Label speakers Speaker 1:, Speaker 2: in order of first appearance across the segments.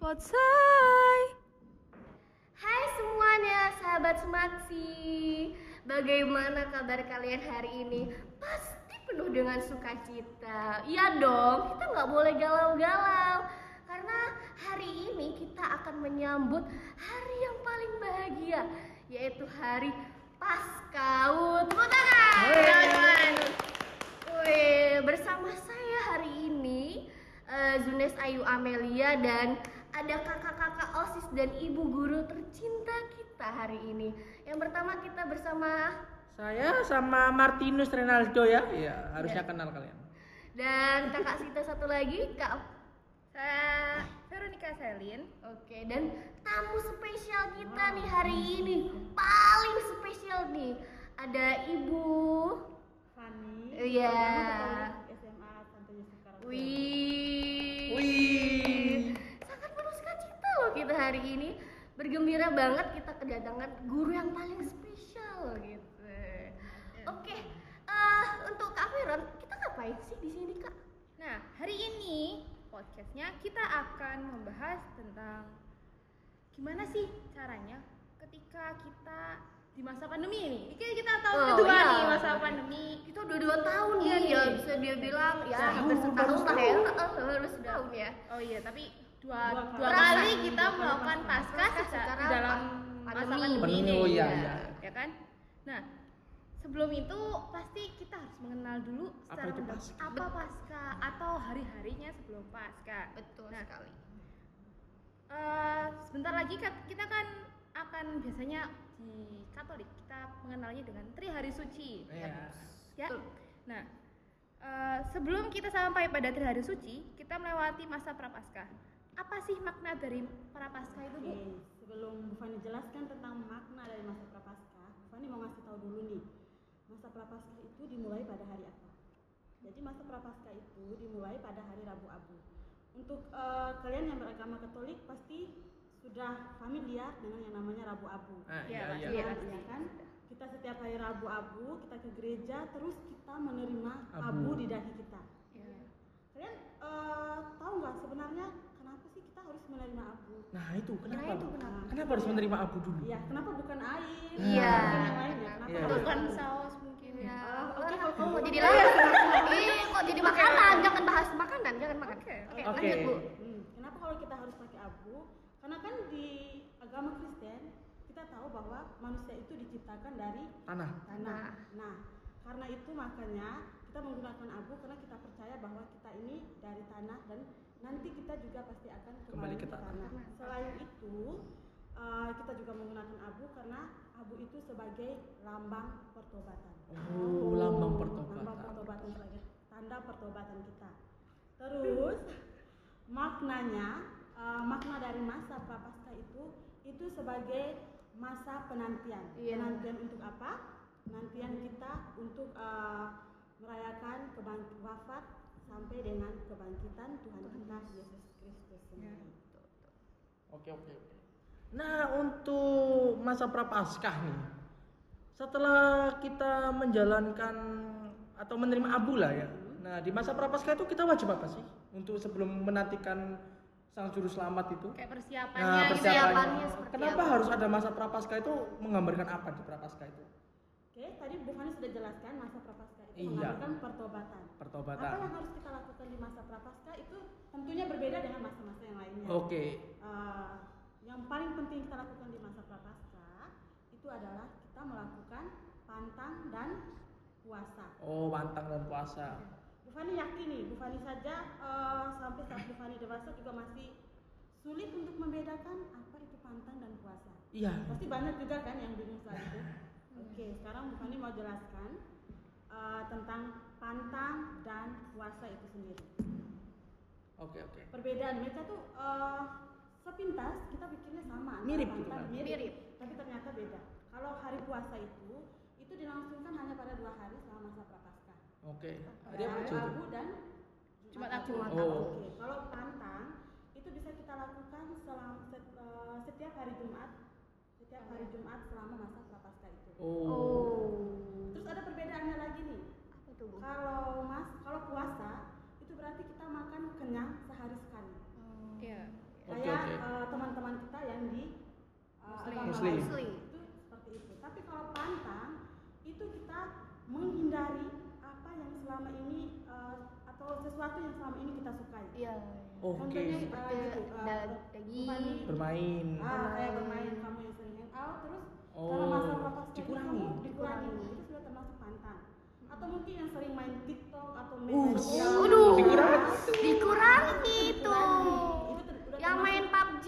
Speaker 1: Potsai.
Speaker 2: Hai semuanya, sahabat Semaksi. Bagaimana kabar kalian hari ini? Pasti penuh dengan sukacita. Iya dong, kita nggak boleh galau-galau. Karena hari ini kita akan menyambut hari yang paling bahagia, yaitu hari Paskaut. Tepuk tangan! Tepuk tangan. Wih, bersama saya hari ini eh, Zunes Ayu Amelia dan ada kakak-kakak OSIS dan ibu guru tercinta kita hari ini. Yang pertama kita bersama
Speaker 3: Saya sama Martinus Renaldo ya. Iya, harusnya
Speaker 2: Iya.
Speaker 3: kenal kalian.
Speaker 2: dan kakak Sita satu lagi, Kak. Saya Veronica Selin. Oke, dan tamu spesial kita nih hari ini paling spesial nih. Ada Ibu
Speaker 4: Fani.
Speaker 2: Iya.
Speaker 4: Ketua
Speaker 2: ya,
Speaker 4: SMA Santo Yusuf Karawaci.
Speaker 2: Wih.
Speaker 3: Wih.
Speaker 2: Sangat penuh sukacita loh kita hari ini. Bergembira banget kita kedatangan guru yang paling spesial gitu. Oke, eh, untuk Kak Veron, kita ngapain sih di sini Kak?
Speaker 5: Nah, hari ini podcastnya kita akan membahas tentang gimana sih caranya ketika kita di masa pandemi ini. Ini kita tahu
Speaker 2: Oh,
Speaker 5: kedua
Speaker 2: iya.
Speaker 5: nih masa pandemi.
Speaker 2: Kita udah dua tahun
Speaker 5: Iya,
Speaker 2: nih,
Speaker 5: iya.
Speaker 2: ya bisa dia bilang ya
Speaker 3: Setahun,
Speaker 2: hampir setahun
Speaker 3: baru
Speaker 2: lah ya, Eh, baru setahun ya.
Speaker 5: Oh iya, tapi dua
Speaker 4: Dua
Speaker 5: dua,
Speaker 2: kali.
Speaker 5: kali kita melakukan pasca
Speaker 2: Pasca secara
Speaker 5: secara dalam
Speaker 2: pa-
Speaker 5: masa
Speaker 2: pandemi.
Speaker 5: pandemi ini.
Speaker 3: Pandemi, iya,
Speaker 5: ya,
Speaker 3: iya.
Speaker 5: ya kan? Nah, sebelum itu pasti kita harus mengenal dulu secara
Speaker 3: itu
Speaker 5: mendalam
Speaker 3: pasca?
Speaker 5: apa pasca atau hari-harinya sebelum pasca.
Speaker 2: Betul
Speaker 5: Nah,
Speaker 2: sekali.
Speaker 5: Eh, sebentar lagi kat- kita kan akan biasanya di Katolik kita mengenalnya dengan Tri Hari Suci.
Speaker 3: Iya.
Speaker 5: Ya.
Speaker 2: Betul.
Speaker 5: Nah, eh, sebelum kita sampai pada Tri Hari Suci, kita melewati masa Prapaskah. Apa sih makna dari Prapaskah itu, Bu?
Speaker 4: Oke, sebelum Bu Fani jelaskan tentang makna dari masa prapaskah, Bu Fani mau ngasih tahu dulu nih. Masa prapaskah itu dimulai pada hari apa? Jadi masa prapaskah itu dimulai pada hari Rabu Abu. Untuk eh, kalian yang beragama Katolik pasti sudah familiar dengan yang namanya Rabu Abu.
Speaker 3: Ah,
Speaker 5: Iya,
Speaker 3: iya,
Speaker 5: iya.
Speaker 3: iya.
Speaker 4: Iya kan? Kita setiap hari Rabu Abu, kita ke gereja, terus kita menerima
Speaker 3: Abu.
Speaker 4: abu di dahi kita.
Speaker 2: Iya.
Speaker 5: Ya.
Speaker 4: Kalian eh, tahu nggak sebenarnya kenapa sih kita harus menerima abu?
Speaker 3: Nah, itu kenapa?
Speaker 2: Nah, itu
Speaker 3: Bu?
Speaker 2: kenapa?
Speaker 3: Kenapa harus menerima abu dulu?
Speaker 4: Iya, kenapa bukan air?
Speaker 2: Iya.
Speaker 4: Bukan yang lain ya? Kenapa
Speaker 3: Iya.
Speaker 4: harus
Speaker 5: Bukan
Speaker 4: abu?
Speaker 5: kan saus mungkin ya.
Speaker 4: Eh, Oke, kalau kamu
Speaker 2: Kok Iya. jadi lalat? Ini kok jadi makanan? Jangan bahas makanan, jangan makan.
Speaker 5: Oke.
Speaker 2: Oke,
Speaker 3: Oke.
Speaker 2: lanjut Bu.
Speaker 4: Hmm, kenapa kalau kita harus pakai abu? Karena kan di agama Kristen kita tahu bahwa manusia itu diciptakan dari
Speaker 3: Tanah.
Speaker 4: tanah. Nah, karena itu makanya kita menggunakan abu karena kita percaya bahwa kita ini dari tanah dan nanti kita juga pasti akan kembali,
Speaker 3: Kembali ke
Speaker 4: ke tanah.
Speaker 3: tanah.
Speaker 4: Selain itu, eh, kita juga menggunakan abu karena abu itu sebagai lambang pertobatan.
Speaker 3: Oh, lambang pertobatan.
Speaker 4: Lambang pertobatan sebagai tanda pertobatan kita. Terus maknanya eh, makna dari masa prapaskah itu itu sebagai masa penantian.
Speaker 2: Iya.
Speaker 4: Penantian untuk apa? Penantian kita untuk eh, merayakan kebangkitan wafat sampai dengan kebangkitan Tuhan kita Yesus Kristus ya. sendiri.
Speaker 3: Oke, oke, oke. Nah, untuk masa prapaskah nih. Setelah kita menjalankan atau menerima abu lah ya. Nah, di masa prapaskah itu kita wajib apa sih? Untuk sebelum menantikan sang juru selamat itu?
Speaker 5: Kayak persiapannya
Speaker 3: iya. Nah,
Speaker 5: gitu.
Speaker 2: persiapan.
Speaker 3: persiapannya.
Speaker 2: persiapannya seperti
Speaker 3: Kenapa
Speaker 2: apa?
Speaker 3: harus ada masa prapaskah itu menggambarkan apa di prapaskah itu?
Speaker 4: Oke, tadi Bu Fani sudah jelaskan masa prapaskah itu
Speaker 3: Iya.
Speaker 4: menggambarkan pertobatan. Apa
Speaker 3: Pertobatan.
Speaker 4: yang harus kita lakukan di masa prapaskah itu tentunya berbeda dengan masa-masa yang lainnya.
Speaker 3: Oke.
Speaker 4: Eh, yang paling penting kita lakukan di masa prapaskah itu adalah kita melakukan pantang dan puasa.
Speaker 3: Oh, pantang dan puasa.
Speaker 4: Bu Fani yakin nih, Bu Fani saja eh, sampai saat Bu Fani dewasa juga masih sulit untuk membedakan apa itu pantang dan puasa.
Speaker 3: Iya.
Speaker 4: Pasti banyak juga kan yang bingung soal itu. Oke, sekarang Bu Fani mau jelaskan eh, tentang pantang dan puasa itu sendiri.
Speaker 3: Oke, oke.
Speaker 4: Perbedaan mereka tuh eh, sepintas kita pikirnya sama. antara
Speaker 3: Mirip gitu kan?
Speaker 4: pantang, mirip,
Speaker 2: Mirip.
Speaker 4: tapi ternyata beda. Kalau hari puasa itu itu dilangsungkan hanya pada dua hari selama masa prapaskah.
Speaker 3: Oke. Tadi
Speaker 4: Pada
Speaker 3: apa
Speaker 4: hari
Speaker 3: aja tuh?
Speaker 4: Rabu dan
Speaker 5: Jumat Agung.
Speaker 4: Jumat
Speaker 3: Oh.
Speaker 4: Agung. Oke, Kalau pantang itu bisa kita lakukan selang, set- eh, setiap hari Jumat, setiap hari Jumat selama masa prapaskah itu.
Speaker 3: Oh.
Speaker 2: Oh.
Speaker 4: Terus ada perbedaannya lagi nih.
Speaker 2: Apa tuh Bu?
Speaker 4: Kalau mas, kalau puasa itu berarti kita makan kenyang sehari sekali.
Speaker 5: Iya.
Speaker 3: Oke,
Speaker 4: Kayak
Speaker 3: oke.
Speaker 4: eh,
Speaker 3: Muslim.
Speaker 5: Muslim.
Speaker 4: itu seperti itu tapi kalau pantang itu kita menghindari apa yang selama ini eh, atau sesuatu yang selama ini kita sukai
Speaker 2: Iya.
Speaker 5: Oh.
Speaker 3: Oke.
Speaker 4: contohnya eh,
Speaker 2: Seperti
Speaker 4: gitu, eh,
Speaker 2: da-
Speaker 4: Fanny,
Speaker 2: daging.
Speaker 3: Bermain.
Speaker 4: ah, kayak
Speaker 2: Bermain.
Speaker 4: bermain kamu yang sering hangout terus
Speaker 3: Oh,
Speaker 4: kalau masa prokos
Speaker 3: dikurangi.
Speaker 4: kamu dikurangi
Speaker 2: Dikurangi.
Speaker 4: itu sudah termasuk pantang atau mungkin yang sering main TikTok atau main
Speaker 3: Uh,
Speaker 4: sosial
Speaker 3: siap.
Speaker 2: Waduh.
Speaker 3: Dikurangi.
Speaker 2: Dikurangi itu.
Speaker 4: Dikurangi. Itu ter- udah
Speaker 2: Yang
Speaker 4: termasuk-
Speaker 2: main PUBG,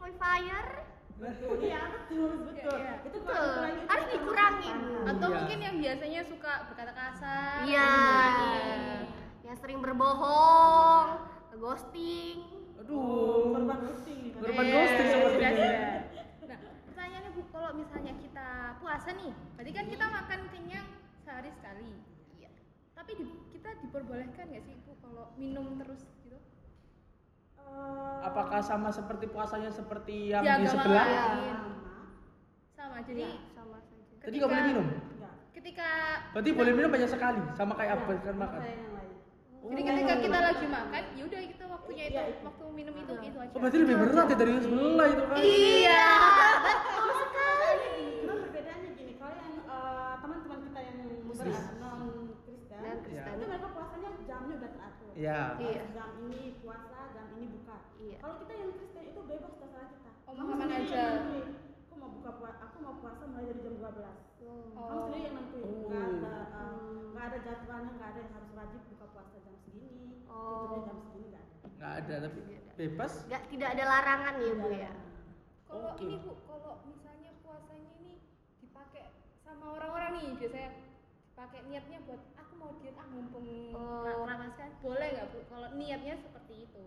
Speaker 2: Free Fire.
Speaker 4: Betul, iya betul betul
Speaker 5: Iya,
Speaker 4: itu gitu.
Speaker 2: Betul.
Speaker 4: kalau dikurangi itu
Speaker 2: Harus
Speaker 4: termasuk
Speaker 2: dikurangin.
Speaker 4: pantang.
Speaker 5: Atau
Speaker 3: Iya.
Speaker 5: mungkin yang biasanya suka berkata kasar.
Speaker 2: Iya. Yang sering berbohong, ghosting.
Speaker 3: Aduh.
Speaker 4: korban Eh, ghosting nih, Kak.
Speaker 3: Korban ghosting sepertinya.
Speaker 5: Nah, pertanyaannya Bu, kalau misalnya kita puasa nih, berarti kan kita makan kenyang sehari sekali. Iya. Tapi di- kita diperbolehkan nggak sih Bu kalau minum terus gitu?
Speaker 4: Eh,
Speaker 3: Apakah sama seperti puasanya seperti yang
Speaker 5: Di
Speaker 3: di
Speaker 5: agama
Speaker 3: sebelah?
Speaker 4: ya.
Speaker 5: lain.
Speaker 2: Iya.
Speaker 4: sama
Speaker 5: Sama. Jadi
Speaker 2: sama saja.
Speaker 3: Tadi nggak boleh minum.
Speaker 4: enggak
Speaker 5: Ketika
Speaker 3: Berarti boleh minum banyak sekali, sama kayak apa
Speaker 4: Enggak,
Speaker 3: kan makan.
Speaker 4: kayak yang lain.
Speaker 3: Oh.
Speaker 5: jadi ketika kita lagi makan, yaudah kita waktunya itu waktu minum itu itu aja.
Speaker 3: Oh, berarti lebih berat ya dari yang sebelah itu kan?
Speaker 5: Iya.
Speaker 4: Cuma Oh, perbedaannya gini, kalau yang eh, teman-teman kita yang non Kristen,
Speaker 2: Dan
Speaker 3: Kristen.
Speaker 4: itu mereka puasanya jamnya udah teratur.
Speaker 3: Iya.
Speaker 2: Iya.
Speaker 4: Jam ini puasa, jam ini buka.
Speaker 2: Iya.
Speaker 4: Kalau kita yang Kristen itu bebas terserah kita.
Speaker 5: Oh,
Speaker 4: Kamu
Speaker 5: makan
Speaker 4: sendiri
Speaker 5: aja.
Speaker 4: yang nentuin. Aku mau buka puasa, aku mau puasa mulai dari jam 12. Kamu sendiri yang nentuin.
Speaker 3: Oh.
Speaker 4: Enggak ada eh, enggak ada jadwalnya, enggak ada yang harus wajib buka puasa jam segini.
Speaker 2: Oh.
Speaker 4: tutupnya jam segini enggak ada.
Speaker 3: Nggak ada, tapi bebas.
Speaker 2: Nggak, tidak ada larangan ya bu ya.
Speaker 5: Kalau
Speaker 3: Oke.
Speaker 5: ini Bu, kalau misalnya puasanya ini dipakai sama orang-orang nih biasanya dipakai niatnya buat aku mau diet ah mumpung
Speaker 2: Oh.
Speaker 5: ra- ramas kan boleh nggak Bu kalau niatnya seperti itu?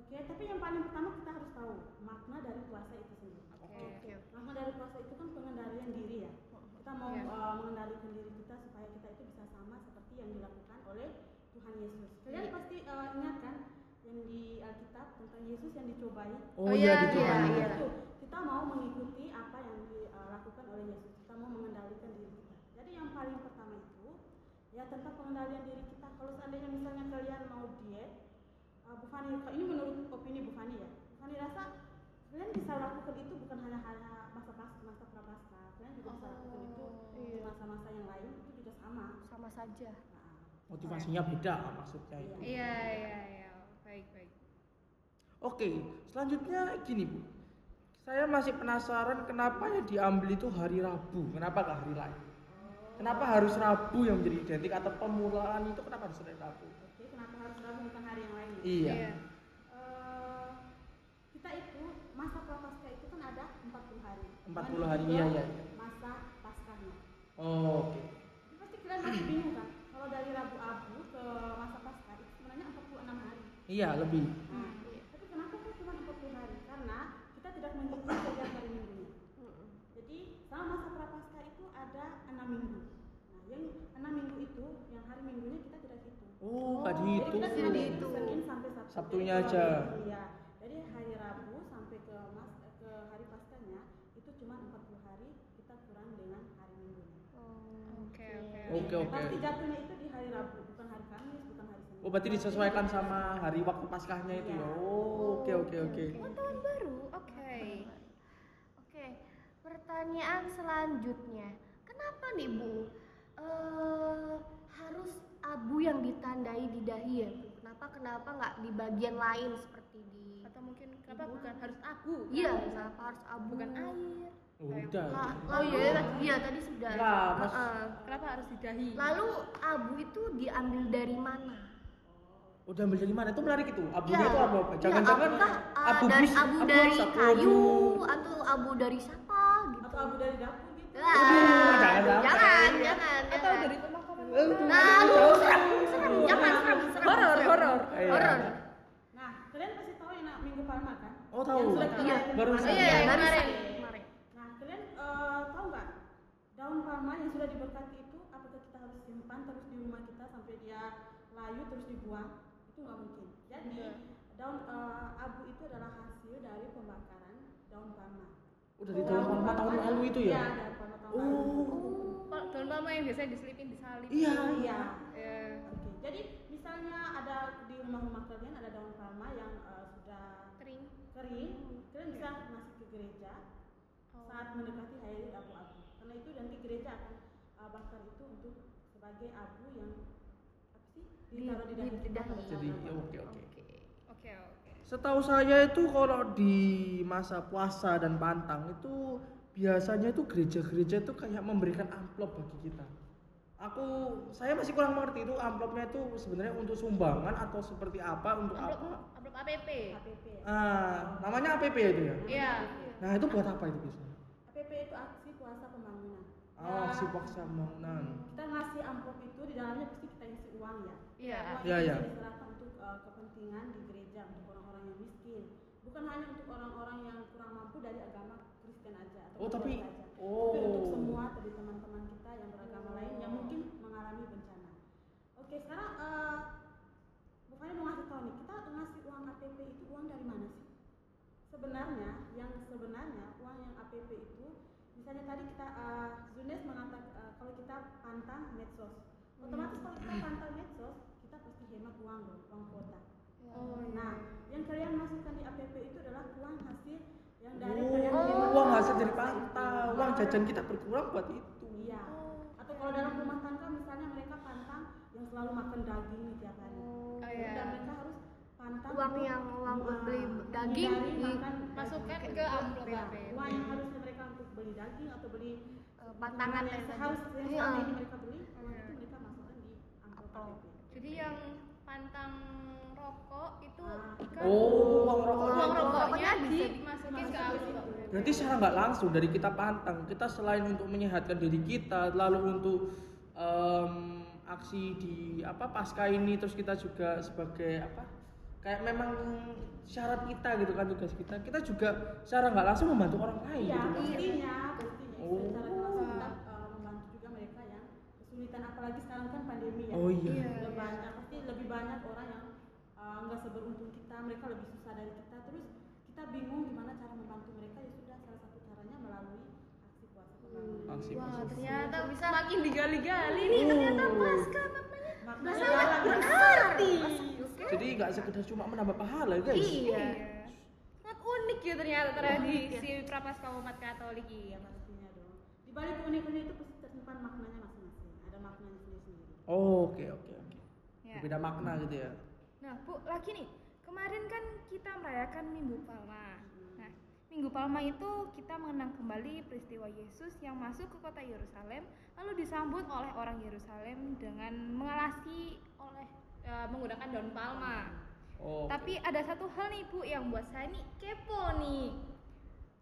Speaker 4: Oke, tapi yang paling pertama kita harus tahu makna dari puasa itu sendiri.
Speaker 5: Oke.
Speaker 4: Makna dari puasa itu kan pengendalian diri ya. Kita mau
Speaker 5: Iya.
Speaker 4: eh, mengendalikan diri kita supaya kita itu bisa sama seperti yang dilakukan oleh Tuhan Yesus. Kalian
Speaker 5: Iya.
Speaker 4: pasti eh, ingat kan yang di Alkitab tentang Yesus yang dicobai.
Speaker 5: Oh,
Speaker 3: Oh, iya,
Speaker 5: iya,
Speaker 3: gitu kan.
Speaker 2: iya.
Speaker 4: Itu kita mau mengikuti apa yang dilakukan oleh Yesus. Kita mau mengendalikan diri kita. Jadi yang paling pertama itu ya tentang pengendalian diri kita. Kalau seandainya misalnya kalian mau diet, eh, Bu Fani, ini menurut opini Bu Fani ya. Bu Fani rasa kalian bisa lakukan itu bukan hanya hanya masa pas masa prapaska. Kalian juga bisa lakukan itu
Speaker 3: Oh,
Speaker 4: di
Speaker 2: Iya.
Speaker 4: masa-masa yang lain itu juga sama.
Speaker 2: Sama saja.
Speaker 4: Nah,
Speaker 3: Motivasinya beda maksudnya itu.
Speaker 5: Iya iya iya. Baik baik.
Speaker 3: Oke, selanjutnya gini Bu. Saya masih penasaran kenapa yang diambil itu hari Rabu, kenapa nggak hari lain? Kenapa harus Rabu yang menjadi identik atau pemulaan itu kenapa harus hari Rabu?
Speaker 4: Oke, kenapa harus Rabu bukan hari yang lain? ya?
Speaker 3: Iya.
Speaker 4: Eh, kita itu masa prapaskah itu kan ada 40 hari.
Speaker 3: 40
Speaker 4: Dan
Speaker 3: hari,
Speaker 4: juga
Speaker 3: iya, iya, iya.
Speaker 4: Masa paskahnya.
Speaker 3: Oh, oke.
Speaker 4: Ini Pasti kalian masih bingung kan? Kalau dari Rabu Abu ke masa paskah itu sebenarnya 46 hari.
Speaker 3: Iya, lebih.
Speaker 4: Nah,
Speaker 5: Hmm.
Speaker 2: Iya.
Speaker 4: tapi kenapa kok cuma 40 hari? Karena kita tidak mengikuti setiap hari minggunya. Jadi sama masa prapaskah itu ada 6 minggu. Nah, yang 6 minggu itu yang hari minggunya kita tidak hitung.
Speaker 3: Oh, nggak
Speaker 4: Jadi
Speaker 3: dihitung.
Speaker 4: kita tidak dihitung
Speaker 2: Dihitung.
Speaker 4: Senin sampai Sabtu.
Speaker 3: Sabtunya
Speaker 4: Jadi
Speaker 3: aja.
Speaker 4: kalau- Iya. Jadi hari Rabu sampai ke mas ke hari paskanya itu cuma 40 hari kita kurang dengan hari Minggunya.
Speaker 5: Oke oke.
Speaker 3: Oh. Oke, oke.
Speaker 4: Pasti jatuhnya itu di hari Rabu, bukan hari Kamis, bukan hari Senin.
Speaker 3: Oh, berarti disesuaikan sama hari waktu Paskahnya itu ya.
Speaker 4: Iya.
Speaker 3: Oh, oke oke oke.
Speaker 2: Iya.
Speaker 5: Oh, tahun baru. Oke.
Speaker 2: Oke, pertanyaan selanjutnya. Kenapa nih Bu? Eh, harus abu yang ditandai di dahi ya Bu? Kenapa kenapa nggak di bagian lain seperti di
Speaker 5: Atau mungkin kenapa bukan harus aku? kan?
Speaker 2: Iya, kenapa harus abu?
Speaker 5: Bukan air.
Speaker 3: Udah.
Speaker 2: La- oh iya, iya tadi sudah.
Speaker 3: Lah, mas-
Speaker 2: Heeh.
Speaker 5: Eh, Kenapa harus di dahi?
Speaker 2: Lalu abu itu diambil dari mana?
Speaker 3: Udah ambil dari mana? Itu menarik itu. Abunya
Speaker 2: Iya.
Speaker 3: itu abu apa?
Speaker 2: Iya,
Speaker 3: Jangan-jangan
Speaker 2: apakah, eh,
Speaker 3: abu
Speaker 2: dari
Speaker 3: bis-
Speaker 2: abu
Speaker 3: abu
Speaker 2: dari
Speaker 3: sapu.
Speaker 2: kayu atau abu dari siapa gitu.
Speaker 4: Atau Abu dari dapur gitu.
Speaker 2: Lah,
Speaker 3: Aduh, Iya. jangan sampai.
Speaker 2: jangan, jangan,
Speaker 5: Atau
Speaker 2: jangan.
Speaker 5: dari pemakaman?
Speaker 3: Aduh,
Speaker 2: Nah, lu
Speaker 3: jauh.
Speaker 2: serem, serem, jangan serem, serem.
Speaker 5: Horor,
Speaker 2: serem.
Speaker 5: horor.
Speaker 3: Iya.
Speaker 2: Horor.
Speaker 4: Nah, kalian pasti tahu yang nak Minggu Palma kan?
Speaker 3: Oh, tahu.
Speaker 4: Yang sudah
Speaker 2: Iya,
Speaker 4: kita-
Speaker 3: baru
Speaker 5: Iya, iya,
Speaker 2: dari
Speaker 5: kemarin.
Speaker 2: sana, kemarin.
Speaker 4: Nah, kalian eh, tahu nggak daun palma yang sudah diberkati itu apakah kita harus simpan terus di rumah kita sampai dia layu terus dibuang? Itu nggak mungkin. Jadi
Speaker 5: Iya.
Speaker 4: daun eh, abu itu adalah hasil dari pembakaran daun palma.
Speaker 3: Udah di tahun
Speaker 4: Daun
Speaker 3: lama tahun
Speaker 4: palma-
Speaker 3: lalu itu
Speaker 4: Iya,
Speaker 3: ya?
Speaker 4: daun palma tahun lalu.
Speaker 3: Oh.
Speaker 5: Kalau daun palma yang biasanya diselipin disalip.
Speaker 3: Iya.
Speaker 4: Iya.
Speaker 5: Iya.
Speaker 4: Oke. Jadi misalnya ada di rumah-rumah kalian ada daun palma yang eh, sudah
Speaker 5: Kering.
Speaker 4: kering, kalian bisa masuk ke gereja,
Speaker 5: Oh,
Speaker 4: saat mendekati hari abu-abu. Karena itu nanti gereja akan uh, bakar itu untuk sebagai abu yang apa sih ditaruh di
Speaker 2: Di-
Speaker 4: dahi
Speaker 2: di dahi.
Speaker 4: kita. pada
Speaker 3: Jadi
Speaker 4: saat
Speaker 3: ya
Speaker 4: abu-abu.
Speaker 3: oke oke.
Speaker 5: Oke oke.
Speaker 3: Setahu saya itu kalau di masa puasa dan pantang itu biasanya itu gereja-gereja itu kayak memberikan amplop bagi kita. Aku saya masih kurang mengerti itu amplopnya itu sebenarnya untuk sumbangan atau seperti apa untuk
Speaker 5: Upload
Speaker 3: apa?
Speaker 5: upload APP.
Speaker 4: APP.
Speaker 3: Ah, namanya APP itu ya.
Speaker 5: Iya.
Speaker 3: Nah, itu buat apa itu biasanya?
Speaker 4: APP itu aksi puasa pembangunan.
Speaker 3: Oh,
Speaker 4: Nah,
Speaker 3: aksi puasa bangunan.
Speaker 4: kita ngasih amplop itu di dalamnya pasti kita isi uang ya.
Speaker 5: Iya.
Speaker 4: Uang
Speaker 3: Iya,
Speaker 4: itu
Speaker 3: iya.
Speaker 4: bisa diserahkan untuk uh, kepentingan di gereja untuk orang-orang yang miskin. Bukan hanya untuk orang-orang yang kurang mampu dari agama Kristen aja atau
Speaker 3: Oh, tapi
Speaker 4: Buddha aja. Tapi untuk
Speaker 3: oh.
Speaker 4: semua dari teman-teman kita yang beragama lain yang mungkin mengalami bencana. Oke, sekarang eh bukannya mau ngasih tahu nih, kita ngasih uang APP itu uang dari mana sih? Sebenarnya yang sebenarnya uang yang APP itu misalnya tadi kita eh, Zunes mengatakan eh, kalau kita pantang medsos, otomatis kalau kita pantang medsos kita pasti hemat uang dong, uang kuota.
Speaker 5: Oh,
Speaker 3: iya.
Speaker 4: Nah, yang kalian masukkan di APP itu adalah uang hasil yang dari kalian
Speaker 3: Oh,
Speaker 4: hemat Nah,
Speaker 3: uang hasil dari pantang, uang jajan kita berkurang buat itu.
Speaker 4: Iya. Atau kalau dalam rumah tangga misalnya mereka pantang yang selalu makan daging nih tiap hari.
Speaker 5: Oh
Speaker 4: Dan
Speaker 5: iya.
Speaker 4: mereka harus pantang
Speaker 2: Uang
Speaker 4: untuk,
Speaker 2: yang- uang buat
Speaker 4: uh,
Speaker 2: beli
Speaker 4: menghindari
Speaker 2: daging di-
Speaker 4: makan
Speaker 5: Masukkan
Speaker 4: daging.
Speaker 5: ke amplop
Speaker 4: Ya,
Speaker 5: APP.
Speaker 4: Uang yang harusnya mereka untuk beli daging atau beli
Speaker 2: Eh, pantangan
Speaker 4: yang
Speaker 2: tadi.
Speaker 4: harus yang
Speaker 2: Iya.
Speaker 4: selama ini mereka beli, uang
Speaker 5: Iya.
Speaker 4: itu mereka masukkan di amplop
Speaker 2: Amplop.
Speaker 4: APP.
Speaker 5: Jadi yang pantang rokok itu
Speaker 4: Ah.
Speaker 5: kan
Speaker 3: Oh, uang rokok.
Speaker 5: uang
Speaker 2: Rokoknya
Speaker 5: rokoknya
Speaker 2: bisa
Speaker 5: dimasukin ke
Speaker 4: dimasukin.
Speaker 5: amplop.
Speaker 3: Berarti secara nggak langsung dari kita pantang, kita selain untuk menyehatkan diri kita, lalu untuk em, aksi di apa pasca ini, terus kita juga sebagai apa kayak memang syarat kita gitu kan tugas kita, kita juga secara nggak langsung membantu orang lain
Speaker 4: Iya,
Speaker 3: gitu kan.
Speaker 4: pastinya, pastinya.
Speaker 3: Oh.
Speaker 4: Secara langsung kita uh, membantu juga mereka yang kesulitan apalagi sekarang kan pandemi ya.
Speaker 3: Oh iya.
Speaker 5: Iya.
Speaker 4: lebih banyak pasti lebih banyak orang yang uh, nggak seberuntung kita mereka lebih susah dari kita terus kita bingung gimana cara membantu mereka ya sudah salah satu caranya melalui aksi puasa pembangunan
Speaker 3: Aksi
Speaker 5: Wah,
Speaker 3: puasa.
Speaker 5: Oh, ternyata bisa makin digali-gali nih ternyata
Speaker 3: Oh.
Speaker 5: pasca namanya.
Speaker 4: Makna
Speaker 2: Masalah
Speaker 4: dalam
Speaker 2: berarti.
Speaker 3: Jadi nggak sekedar cuma menambah pahala ya, guys.
Speaker 2: Iya.
Speaker 5: Sangat unik ya ternyata terjadi si Prapaskah Umat Katolik iya. Mas.
Speaker 4: pastinya dong di balik unik-unik itu pasti tersimpan maknanya masing-masing ada maknanya sendiri-sendiri
Speaker 3: Oh, Oke oke oke.
Speaker 5: Ya.
Speaker 3: Beda makna gitu ya.
Speaker 5: Nah, Bu, lagi nih. Kemarin kan kita merayakan Minggu Palma. Nah, Minggu Palma itu kita mengenang kembali peristiwa Yesus yang masuk ke kota Yerusalem lalu disambut oleh orang Yerusalem dengan mengalasi oleh eh, menggunakan daun palma.
Speaker 3: Oh.
Speaker 5: Tapi ada satu hal nih Bu yang buat saya nih kepo nih.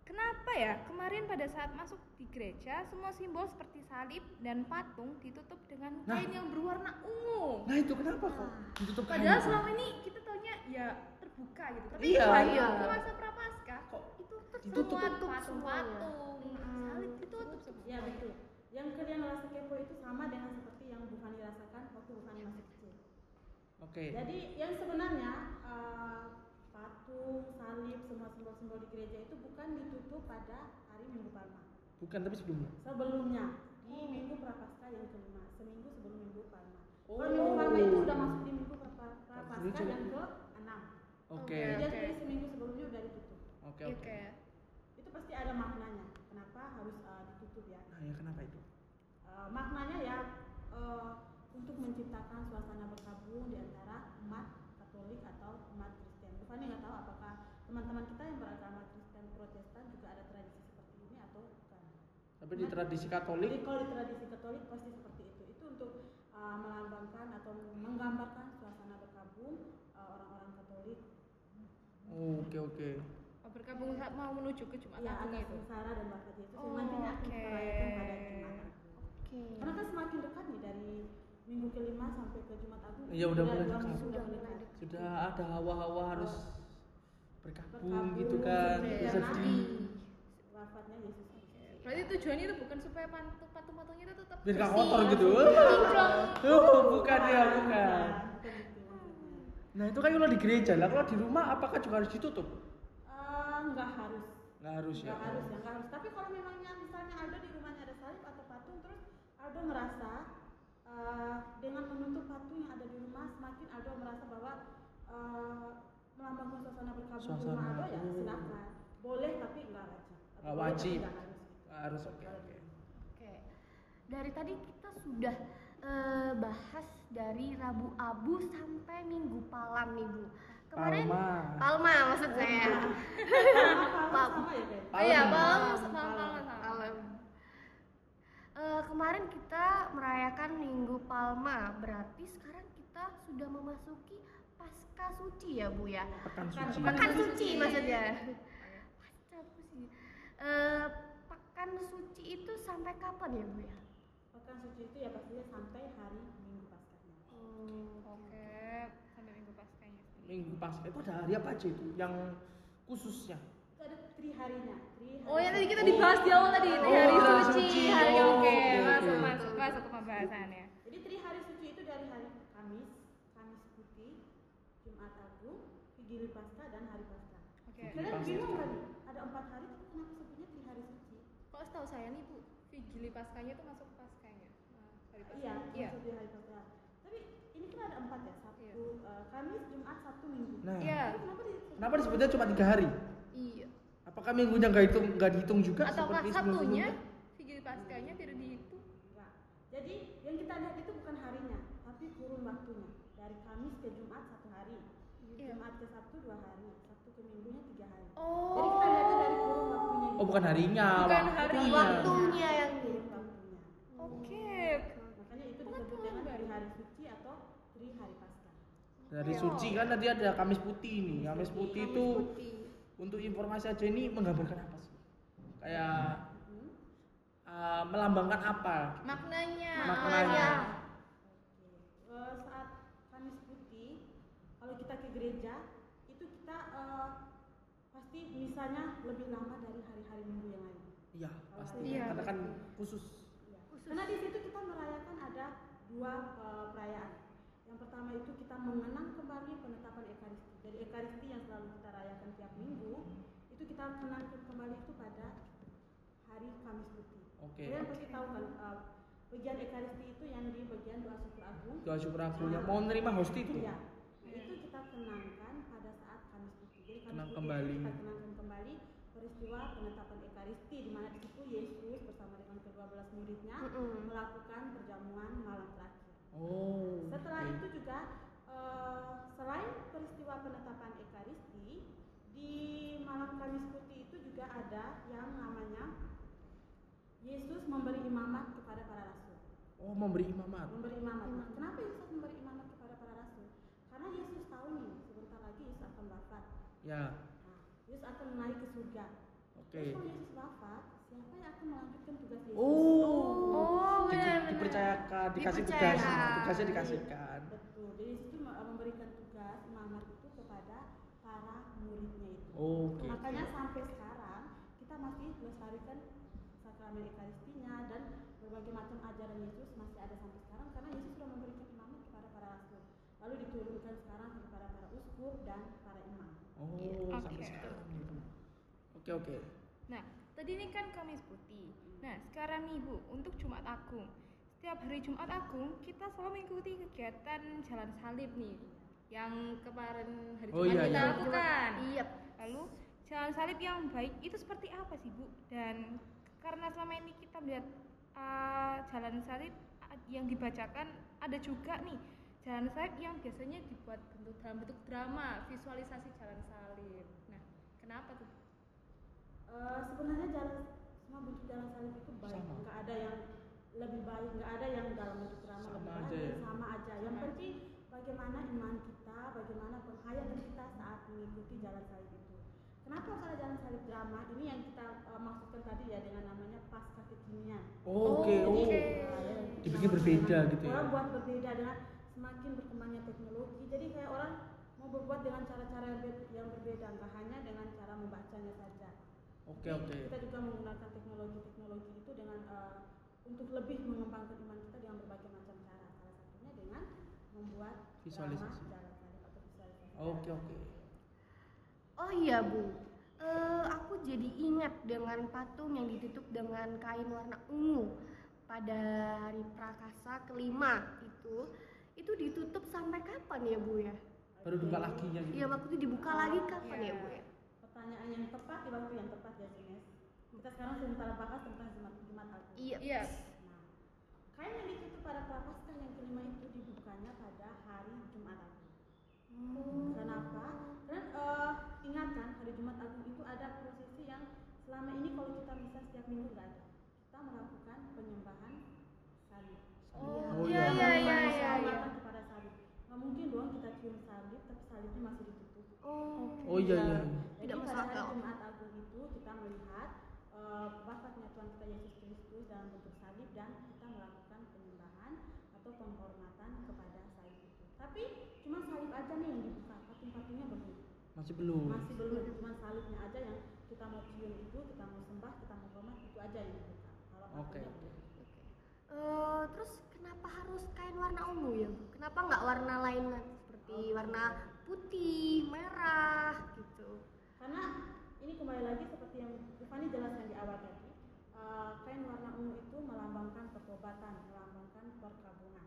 Speaker 5: Kenapa ya kemarin pada saat masuk di gereja semua simbol seperti salib dan patung ditutup dengan
Speaker 3: Nah.
Speaker 5: kain yang berwarna ungu.
Speaker 3: Nah itu kenapa kok ditutup kain?
Speaker 5: Padahal selama ini kita taunya ya terbuka gitu. Tapi
Speaker 3: gitu. Iya.
Speaker 5: kemarin
Speaker 2: Iya.
Speaker 5: ke masa prapaskah
Speaker 3: Kok
Speaker 5: itu
Speaker 3: ditutup?
Speaker 5: tertutup patung-patung, Iya,
Speaker 2: Mm.
Speaker 5: salib ditutup semua.
Speaker 3: Iya,
Speaker 4: ya betul yang kalian rasa kepo itu sama dengan seperti yang bukan dirasakan waktu bukan masih kecil
Speaker 3: Oke.
Speaker 4: Jadi yang sebenarnya eh, patung, salib, semua simbol-simbol di gereja itu bukan ditutup pada hari Minggu Palma.
Speaker 3: Bukan tapi sebelumnya.
Speaker 4: Sebelumnya di Minggu Prapaskah yang kelima, seminggu sebelum Minggu Palma.
Speaker 3: Oh.
Speaker 4: Kalau Minggu Palma itu udah masuk di Minggu Prapa-
Speaker 3: Lucu. ya.
Speaker 4: Prapaskah yang ke enam.
Speaker 3: Oke.
Speaker 5: Oke.
Speaker 4: Jadi dari seminggu sebelumnya udah ditutup.
Speaker 3: Oke
Speaker 5: Iya
Speaker 3: oke.
Speaker 5: kayak
Speaker 4: Itu pasti ada maknanya. Kenapa harus eh, ditutup ya?
Speaker 3: Nah ya kenapa itu?
Speaker 4: Eh, maknanya ya eh, untuk menciptakan suasana berkabung di antara umat Katolik atau umat Kristen. Bukannya nggak tahu apakah teman-teman kita yang beragama Kristen Protestan juga ada tradisi seperti ini atau bukan?
Speaker 3: Tapi di tradisi
Speaker 4: Jadi
Speaker 3: Katolik
Speaker 4: kalau di tradisi Katolik pasti seperti itu. Itu untuk eh, melambangkan atau menggambarkan suasana berkabung eh, orang-orang Katolik
Speaker 3: Oh, Oke oke.
Speaker 5: oh, berkabung saat mau menuju ke Jumat
Speaker 3: Iya,
Speaker 4: ya
Speaker 5: Agung gitu.
Speaker 4: atas
Speaker 5: itu.
Speaker 4: sengsara dan bakti Yesus
Speaker 5: Oh,
Speaker 4: yang nantinya akan kita
Speaker 5: oke.
Speaker 4: rayakan pada Jumat Agung.
Speaker 5: Oke.
Speaker 4: Karena kan semakin dekat nih dari minggu kelima sampai ke Jumat Agung.
Speaker 3: Iya, udah mulai
Speaker 4: dua
Speaker 3: dekat.
Speaker 4: minggu,
Speaker 2: Sudah
Speaker 4: udah mulai
Speaker 2: mulai
Speaker 4: dekat.
Speaker 3: Sudah ada hawa-hawa harus berkabung
Speaker 4: Berkabung,
Speaker 3: gitu kan.
Speaker 4: bersedih.
Speaker 3: Bisa sedih.
Speaker 4: Wafatnya Yesus Kristus.
Speaker 5: Berarti tujuannya itu bukan supaya pantu- patung-patungnya itu tetap
Speaker 3: Biar nggak
Speaker 5: bersih, Iya,
Speaker 3: kotor gitu.
Speaker 5: Kinclong.
Speaker 3: Oh, bukan ya bukan.
Speaker 4: Bukan itu maksudnya.
Speaker 3: Nah itu kan kalau di gereja lah. Kalau di rumah apakah juga harus ditutup?
Speaker 4: Eh, nggak harus.
Speaker 3: Nggak harus ya.
Speaker 4: Nggak harus ya, nggak harus. Tapi kalau memangnya misalnya Aldo di rumahnya ada salib atau patung, terus Aldo ngerasa eh, dengan menutup patung yang ada di rumah, semakin Aldo merasa bahwa eh, melambangkan suasana berkabung di rumah
Speaker 3: Suasana.
Speaker 4: Aldo ya
Speaker 3: Hmm.
Speaker 4: silakan. Boleh tapi nggak wajib. Atau
Speaker 3: Nggak
Speaker 4: boleh tapi
Speaker 3: wajib.
Speaker 4: nggak harus.
Speaker 3: harus oke oke
Speaker 2: Oke, dari tadi kita sudah eh, bahas dari Rabu Abu sampai Minggu Palam nih Bu. Kemarin
Speaker 3: Palma. Iya.
Speaker 2: Palma maksud saya.
Speaker 4: Kalau sama ya Beb?
Speaker 2: Oh Iya, Palem,
Speaker 5: Palem, Palem,
Speaker 2: Palem, Palem,
Speaker 5: Palem.
Speaker 2: Palem. Eh, kemarin kita merayakan Minggu Palma, berarti sekarang kita sudah memasuki Pasca Suci ya Bu ya.
Speaker 3: pekan
Speaker 5: Pekan-
Speaker 3: suci
Speaker 2: Pekan
Speaker 5: Pekan
Speaker 2: Suci
Speaker 5: Suci.
Speaker 2: maksudnya. Pasca Suci. Eh, Pekan Suci itu sampai kapan ya Bu ya?
Speaker 4: Pekan suci itu ya pastinya sampai hari Minggu Paskahnya.
Speaker 5: Oke, sampai minggu paskanya.
Speaker 3: minggu pas itu ada hari apa aja itu yang khususnya
Speaker 4: Itu ada tri harinya. Tri hari
Speaker 5: Oh ya tadi kita
Speaker 3: Oh.
Speaker 5: dibahas di awal tadi
Speaker 3: Oh,
Speaker 5: hari
Speaker 3: hari
Speaker 5: suci,
Speaker 3: suci.
Speaker 5: hari
Speaker 3: Oh,
Speaker 5: oke,
Speaker 3: oke,
Speaker 5: masuk
Speaker 3: oke.
Speaker 5: masuk masuk ke pembahasannya.
Speaker 4: Jadi tri hari suci itu dari hari Kamis, Kamis Putih, Jumat Agung, Vigili Paskah dan Hari Paskah.
Speaker 5: Oke.
Speaker 3: Vigili
Speaker 4: Kalian
Speaker 3: Paskah.
Speaker 4: bingung tadi? Ada empat hari tapi kenapa sebutnya tri hari suci?
Speaker 5: Kok setahu saya nih Bu, Vigili Paskanya tuh masuk Nah, ke Paskanya. Hari
Speaker 4: Iya,
Speaker 5: Paskanya.
Speaker 4: iya. di Hari Paskah. Tapi ini kan ada empat ya, Sabtu,
Speaker 5: Iya.
Speaker 4: eh, Kamis, Jumat, Sabtu, Minggu.
Speaker 3: nah
Speaker 5: Iya.
Speaker 4: Tapi kenapa di
Speaker 3: kenapa disebutnya cuma tiga hari
Speaker 5: Iya.
Speaker 3: apakah minggunya nggak hitung nggak dihitung juga
Speaker 5: Atau nggak
Speaker 3: seperti kan?
Speaker 5: Sabtunya
Speaker 3: sebelum-sebelumnya?
Speaker 5: Vigili Paskanya tidak dihitung.
Speaker 4: Enggak. Nah, Jadi yang kita lihat itu bukan harinya, tapi kurun waktunya. Dari Kamis ke Jumat satu hari,
Speaker 5: Iya.
Speaker 4: Jumat ke Sabtu dua hari, Sabtu ke Minggunya tiga hari.
Speaker 5: Oh.
Speaker 4: Jadi kita lihat itu dari kurun waktunya.
Speaker 3: oh bukan harinya
Speaker 5: Bukan
Speaker 3: waktunya. Iya.
Speaker 5: harinya.
Speaker 2: Waktunya yang
Speaker 4: Kurun waktunya.
Speaker 5: Oke.
Speaker 4: Makanya itu
Speaker 5: Bukan
Speaker 4: disebut
Speaker 5: kurun
Speaker 4: dengan
Speaker 5: baru.
Speaker 4: tri hari suci atau tri hari paskah.
Speaker 3: dari suci kan tadi ada Kamis putih nih Kamis putih itu untuk informasi aja ini menggambarkan apa sih kayak
Speaker 4: Mhm.
Speaker 3: uh, melambangkan apa
Speaker 5: Maknanya. Iya.
Speaker 3: Maknanya.
Speaker 4: Eh, saat Kamis Putih, kalau kita ke gereja, itu kita eh, pasti misalnya lebih lama dari hari-hari minggu yang lain.
Speaker 3: iya pasti
Speaker 5: Iya,
Speaker 3: karena kan
Speaker 5: betul.
Speaker 3: khusus
Speaker 4: Karena di situ kita merayakan ada dua eh, perayaan. Yang pertama itu kita mengenang kembali penetapan Ekaristi. Dari Ekaristi yang selalu kita rayakan tiap minggu, itu kita kenang kembali itu pada hari Kamis Putih.
Speaker 3: oke
Speaker 4: Kalian pasti tahu kan eh, bagian Ekaristi itu yang di bagian doa syukur agung.
Speaker 3: doa syukur aku yang mau nerima host itu
Speaker 4: Iya. Nah, itu kita kenangkan pada saat Kamis Putih. Jadi Kamis
Speaker 3: Kenang
Speaker 4: Putih
Speaker 3: kembali.
Speaker 4: itu kita kenangkan kembali peristiwa penetapan Ekaristi di mana di situ Yesus bersama dengan kedua belas muridnya
Speaker 2: Mm-mm.
Speaker 4: melakukan perjamuan malam terakhir.
Speaker 3: oh
Speaker 4: Setelah
Speaker 3: oke.
Speaker 4: itu juga eh, selain peristiwa penetapan Ekaristi di malam Kamis Putih itu juga ada yang namanya Yesus memberi imamat kepada para rasul
Speaker 3: oh memberi imamat
Speaker 4: memberi imamat. Nah, kenapa Yesus memberi imamat kepada para rasul? Karena Yesus tahu nih, sebentar lagi Yesus akan wafat.
Speaker 3: ya
Speaker 4: Nah, Yesus akan naik ke surga.
Speaker 3: oke
Speaker 4: Terus kalau Yesus wafat, siapa yang akan melanjutkan tugas Yesus?
Speaker 3: oh,
Speaker 2: iya,
Speaker 5: Oh,
Speaker 3: Di-
Speaker 5: benar-benar.
Speaker 3: dipercayakan dikasih
Speaker 2: Dipercaya.
Speaker 3: tugas tugasnya dikasihkan
Speaker 4: Betul. Jadi Yesus itu me- memberikan tugas imamat itu kepada para muridnya itu.
Speaker 3: oke
Speaker 4: Makanya sampai sekarang kita masih melestarikan sakramen Ekaristinya dan berbagai macam ajaran Yesus masih ada sampai sekarang karena Yesus sudah memberikan imamat kepada para rasul. Lalu diturunkan sekarang kepada para uskup dan para imam.
Speaker 3: oh
Speaker 5: Oke.
Speaker 3: sampai sekarang gitu oke oke
Speaker 5: Nah, tadi ini kan Kamis Putih. Nah, sekarang nih Bu, untuk Jumat Agung. Setiap hari Jumat Agung, kita selalu mengikuti kegiatan Jalan Salib nih. Yang kemarin hari
Speaker 3: Oh,
Speaker 5: Jumat
Speaker 3: iya,
Speaker 5: kita
Speaker 3: iya.
Speaker 5: lakukan.
Speaker 2: Iya.
Speaker 5: Lalu, Jalan Salib yang baik itu seperti apa sih Bu? Dan karena selama ini kita melihat uh, Jalan Salib uh, yang dibacakan ada juga nih Jalan Salib yang biasanya dibuat bentuk dalam bentuk drama, visualisasi Jalan Salib. Nah, kenapa tuh?
Speaker 4: Eh, sebenarnya jalan semua bentuk jalan salib itu baik.
Speaker 3: Sama.
Speaker 4: Nggak ada yang lebih baik, nggak ada yang dalam bentuk drama
Speaker 3: Sama
Speaker 4: lebih
Speaker 3: aja
Speaker 4: baik,
Speaker 3: ya.
Speaker 4: sama aja. Yang
Speaker 5: Sama.
Speaker 4: penting bagaimana iman kita, bagaimana penghayatan kita saat mengikuti jalan salib itu. Kenapa harus ada jalan salib drama? Ini yang kita eh, maksudkan tadi ya dengan namanya pasca kekinian.
Speaker 3: oke
Speaker 2: Oh,
Speaker 3: oh
Speaker 2: oke.
Speaker 3: Dibikin berbeda gitu ya.
Speaker 4: eh, Orang buat berbeda dengan semakin berkembangnya teknologi. Jadi kayak orang mau berbuat dengan cara-cara yang be- yang berbeda, nggak hanya dengan cara membacanya saja.
Speaker 3: oke
Speaker 4: Jadi
Speaker 3: oke
Speaker 4: Kita juga menggunakan teknologi-teknologi itu dengan eh, untuk lebih mengembangkan iman kita dengan berbagai macam cara. Salah satunya dengan membuat
Speaker 3: Visualisasi.
Speaker 4: drama, jalan salib atau visualisasi.
Speaker 3: oke oke
Speaker 2: Oh iya Bu, Eh, aku jadi ingat dengan patung yang ditutup dengan kain warna ungu pada hari Prakasa kelima itu itu ditutup sampai kapan ya Bu ya?
Speaker 3: baru buka lagi ya gitu
Speaker 2: Iya waktu itu dibuka lagi kapan ya Bu ya?
Speaker 4: Pertanyaan yang tepat di waktu yang tepat ya Junes. Kita sekarang sebentar bahas tentang Jumat Jumat Agung.
Speaker 2: Iya.
Speaker 5: Iya.
Speaker 4: Nah, kain yang ditutup pada Prapaskah yang kelima itu dibukanya pada hari Jumat Agung.
Speaker 5: Hmm.
Speaker 4: Kenapa? Dan eh, ingatkan hari Jumat Agung itu ada prosesi yang selama ini kalau kita bisa setiap minggu nggak ada. Kita melakukan penyembahan salib.
Speaker 5: Oh,
Speaker 3: iya,
Speaker 5: iya, iya,
Speaker 4: Penyembahan
Speaker 5: iya, iya.
Speaker 4: Penghormatan kepada salib. Nggak mungkin dong kita cium salib tapi salibnya masih ditutup.
Speaker 2: Oh.
Speaker 3: Oh iya iya.
Speaker 4: Jadi
Speaker 2: Tidak masuk
Speaker 4: pada hari
Speaker 2: akal.
Speaker 4: Jumat Agung itu kita melihat eh, wafatnya Tuhan kita Yesus Kristus dalam bentuk salib dan kita melakukan penyembahan atau penghormatan kepada salib itu. Tapi cuma salib aja nih yang dibuka, patung-patungnya belum.
Speaker 3: Masih belum.
Speaker 4: Masih belum, cuma salibnya aja yang kita mau cium itu, kita mau sembah, kita mau hormat itu aja yang dibuka. Kalau
Speaker 3: Oke.
Speaker 4: patungnya belum.
Speaker 2: Eh, terus kenapa harus kain warna ungu ya? Bu? Kenapa nggak warna lain kan? seperti warna putih, merah gitu?
Speaker 4: Karena ini kembali lagi seperti yang Tiffany jelaskan di awal tadi, eh, kain warna ungu itu melambangkan pertobatan, melambangkan perkabungan.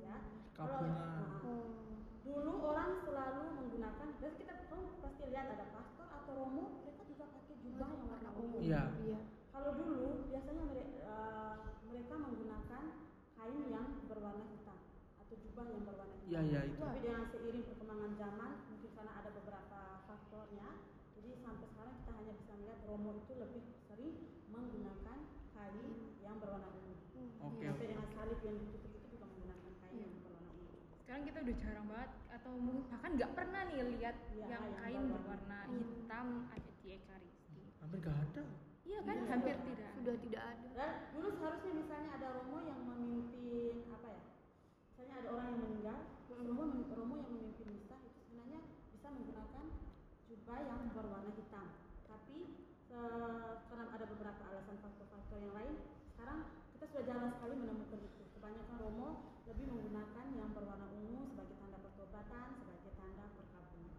Speaker 4: Ya. Kalau-
Speaker 3: Kabungan.
Speaker 2: Oh,
Speaker 4: Nah, dulu orang selalu menggunakan dan kita kamu pasti lihat ada pastor atau romo mereka juga pakai jubah yang warna ungu
Speaker 3: Iya.
Speaker 2: Iya.
Speaker 4: kalau dulu biasanya mere- eh, mereka menggunakan kain yang berwarna hitam atau jubah yang berwarna hitam
Speaker 3: Iya iya itu.
Speaker 4: tapi dengan seiring perkembangan zaman mungkin karena ada beberapa faktornya jadi sampai sekarang kita hanya bisa melihat romo itu lebih sering menggunakan kain yang berwarna ungu
Speaker 2: Hmm,
Speaker 3: Oke
Speaker 2: iya.
Speaker 4: sampai
Speaker 3: oke.
Speaker 4: dengan salib yang ditutup itu juga menggunakan kain yang berwarna ungu
Speaker 5: Sekarang kita udah jarang banget atau mungkin bahkan nggak pernah nih lihat
Speaker 4: Iya,
Speaker 5: yang
Speaker 4: yang
Speaker 5: kain
Speaker 4: berwarna.
Speaker 5: berwarna hitam ada di ekaristi.
Speaker 3: Hampir gak ada.
Speaker 5: Iya kan?
Speaker 4: Iya.
Speaker 5: Hampir tidak.
Speaker 2: Sudah tidak ada.
Speaker 4: Dan dulu seharusnya misalnya ada romo yang memimpin apa ya? Misalnya ada orang yang meninggal, romo romo yang memimpin misa itu sebenarnya bisa menggunakan jubah yang berwarna hitam. Tapi eh, karena ada beberapa alasan faktor-faktor yang lain, sekarang kita sudah jarang sekali menemukan itu. Kebanyakan romo lebih menggunakan yang berwarna ungu sebagai tanda pertobatan, sebagai tanda perkabungan.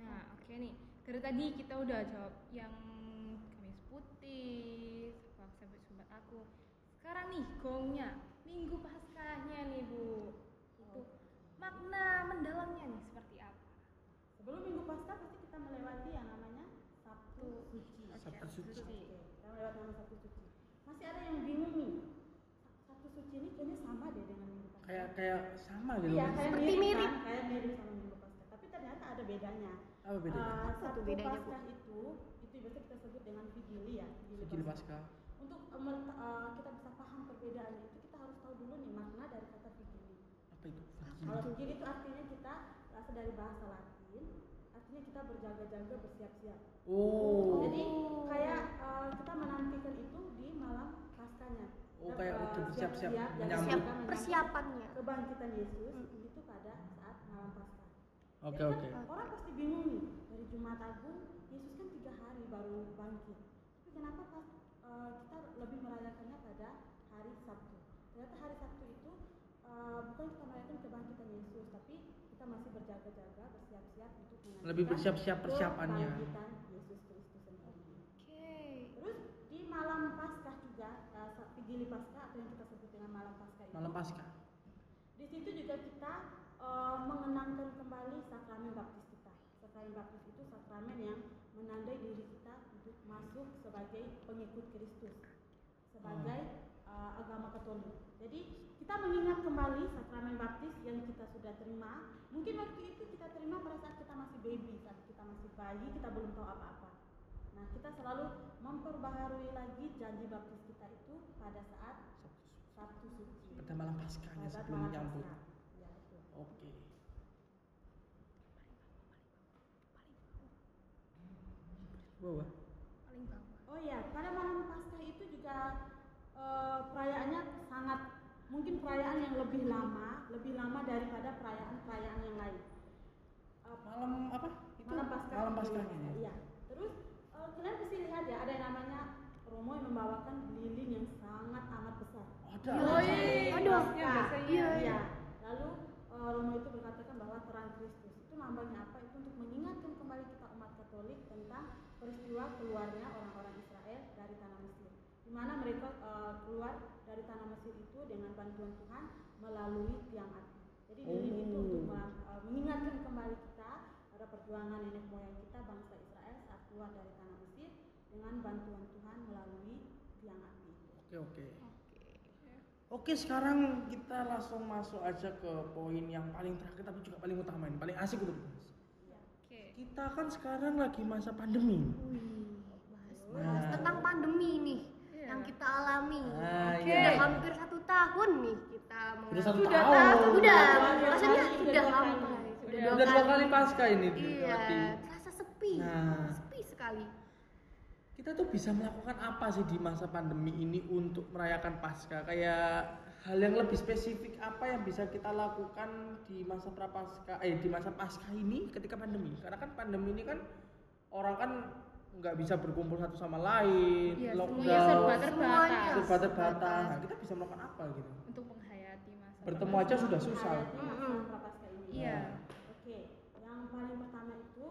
Speaker 5: Nah, oke nih. Dari tadi kita udah jawab yang gamis putih, sebab sampai sumbat aku. Sekarang nih gongnya, minggu paskahnya nih bu. Itu makna mendalamnya nih seperti apa?
Speaker 4: Sebelum minggu pasca pasti kita melewati yang namanya Sabtu Suci.
Speaker 3: Sabtu suci.
Speaker 4: Oke, kita lewat nama Sabtu Suci. Masih ada yang bingung nih. Sabtu Suci ini kayaknya sama deh dengan Minggu Pasca.
Speaker 3: Kayak kayak sama gitu.
Speaker 4: iya,
Speaker 3: Mas.
Speaker 4: kayak
Speaker 2: Seperti
Speaker 4: mirip,
Speaker 2: mirip.
Speaker 4: kan? Kayak mirip sama Minggu Pasca. Tapi ternyata ada bedanya.
Speaker 3: Apa bedanya?
Speaker 4: Eh,
Speaker 2: Apa tuh
Speaker 4: Sabtu
Speaker 2: bedanya, Bu?
Speaker 4: Pasca itu itu biasa kita sebut dengan vigili ya.
Speaker 3: Sejil pasca.
Speaker 4: Untuk eh, mel- eh, kita bisa paham perbedaannya itu kita harus tahu dulu nih makna dari kata vigili.
Speaker 3: Apa itu?
Speaker 4: Kalau vigil itu artinya kita berasal dari bahasa Latin, artinya kita berjaga-jaga, bersiap-siap.
Speaker 3: Oh.
Speaker 4: Jadi kayak eh, kita menantikan itu di malam paskanya.
Speaker 3: Oh,
Speaker 4: Kita,
Speaker 3: kayak
Speaker 4: eh,
Speaker 3: udah bersiap-siap
Speaker 4: dan
Speaker 3: menyambut.
Speaker 2: Siap
Speaker 4: kita menyambut
Speaker 2: Iya. persiapannya.
Speaker 4: kebangkitan Yesus
Speaker 2: Mm.
Speaker 4: itu pada saat malam pasca.
Speaker 3: Oke
Speaker 4: Jadi
Speaker 3: oke.
Speaker 4: kan Orang pasti bingung nih dari Jumat Agung Yesus kan tiga hari baru bangkit. Tapi kenapa pas eh, kita lebih merayakannya pada hari Sabtu? Ternyata hari Sabtu itu eh, bukan kita merayakan kebangkitan Yesus, tapi kita masih berjaga-jaga, bersiap-siap untuk menantikan
Speaker 3: Lebih bersiap-siap persiapannya.
Speaker 4: Kebangkitan Yesus Kristus sendiri.
Speaker 5: Oke.
Speaker 4: Terus di malam Paskah juga, eh, sa- Vigili Paskah atau yang kita sebut dengan malam Paskah itu.
Speaker 3: Malam pasca.
Speaker 4: Di situ juga kita eh, mengenangkan kembali sakramen baptis kita. Sakramen baptis itu sakramen yang menandai diri kita untuk masuk sebagai pengikut Kristus, sebagai eh, agama Katolik. Jadi kita mengingat kembali sakramen baptis yang kita sudah terima. Mungkin waktu itu kita terima pada saat kita masih baby, saat kita masih bayi, kita belum tahu apa-apa. Nah, kita selalu memperbaharui lagi janji baptis kita itu pada saat Sabtu Suci
Speaker 3: Pada malam paskahnya
Speaker 4: saat
Speaker 3: sebelum
Speaker 4: malam
Speaker 3: menyambut.
Speaker 4: Paskah. Ya, betul.
Speaker 3: Oke. Wow. wow.
Speaker 5: Paling bawah.
Speaker 4: Oh ya, pada malam Paskah itu juga eh, perayaannya sangat mungkin perayaan yang lebih lama, lebih lama daripada perayaan-perayaan yang lain. Eh,
Speaker 3: Malam apa? Itu
Speaker 4: malam Paskah.
Speaker 3: Malam paskahnya. ya?
Speaker 4: Iya. Terus eh, kalian pasti lihat ya ada yang namanya Romo yang membawakan lilin yang sangat amat besar.
Speaker 3: Ada.
Speaker 5: Oh, iya.
Speaker 2: Aduh.
Speaker 5: Yang biasanya.
Speaker 4: Iya. iya. Lalu eh, Romo itu berkatakan bahwa terang Kristus itu lambangnya apa? Itu untuk mengingatkan kembali kita umat Katolik tentang peristiwa keluarnya orang-orang Israel dari tanah Mesir. Di mana mereka eh, keluar dari tanah Mesir itu dengan bantuan Tuhan melalui tiang api. Jadi lilin itu
Speaker 3: Oh.
Speaker 4: untuk melang- eh, mengingatkan kembali kita pada perjuangan nenek moyang kita bangsa Israel saat keluar dari tanah Mesir dengan bantuan Tuhan melalui tiang api.
Speaker 3: Oke oke.
Speaker 5: Oke.
Speaker 3: Oke sekarang kita langsung masuk aja ke poin yang paling terakhir tapi juga paling utama ini paling asik untuk dibahas.
Speaker 5: Oke.
Speaker 3: Kita kan sekarang lagi masa pandemi.
Speaker 2: Wih, bahas,
Speaker 3: Nah.
Speaker 2: bahas tentang pandemi nih
Speaker 5: Iya.
Speaker 2: yang kita alami.
Speaker 3: Ah,
Speaker 5: Oke.
Speaker 2: Udah
Speaker 3: iya.
Speaker 2: hampir satu tahun nih kita
Speaker 3: Udah satu
Speaker 2: mengalami-
Speaker 3: tahun.
Speaker 2: Udah,
Speaker 4: Udah
Speaker 2: maksudnya
Speaker 4: kali,
Speaker 2: udah
Speaker 4: udah dua
Speaker 2: hampir.
Speaker 4: kali.
Speaker 2: Sudah
Speaker 3: Udah dua kali pasca ini.
Speaker 2: Iya,
Speaker 3: dilewati.
Speaker 2: terasa sepi,
Speaker 3: Nah.
Speaker 2: sepi sekali.
Speaker 3: Kita tuh bisa melakukan apa sih di masa pandemi ini untuk merayakan pasca? Kayak hal yang lebih spesifik apa yang bisa kita lakukan di masa prapaska eh di masa pasca ini ketika pandemi? Karena kan pandemi ini kan orang kan nggak bisa berkumpul satu sama lain,
Speaker 5: Iya, semuanya serba
Speaker 3: lockdown,
Speaker 5: terbatas.
Speaker 2: Semuanya.
Speaker 3: serba terbatas. Nah, kita bisa melakukan apa gitu?
Speaker 5: Untuk menghayati masa.
Speaker 3: Bertemu
Speaker 5: depan.
Speaker 3: aja sudah susah.
Speaker 4: Menghayati masa
Speaker 2: Mm-mm.
Speaker 4: prapaskah ini.
Speaker 5: Iya.
Speaker 4: Oke, yang paling pertama itu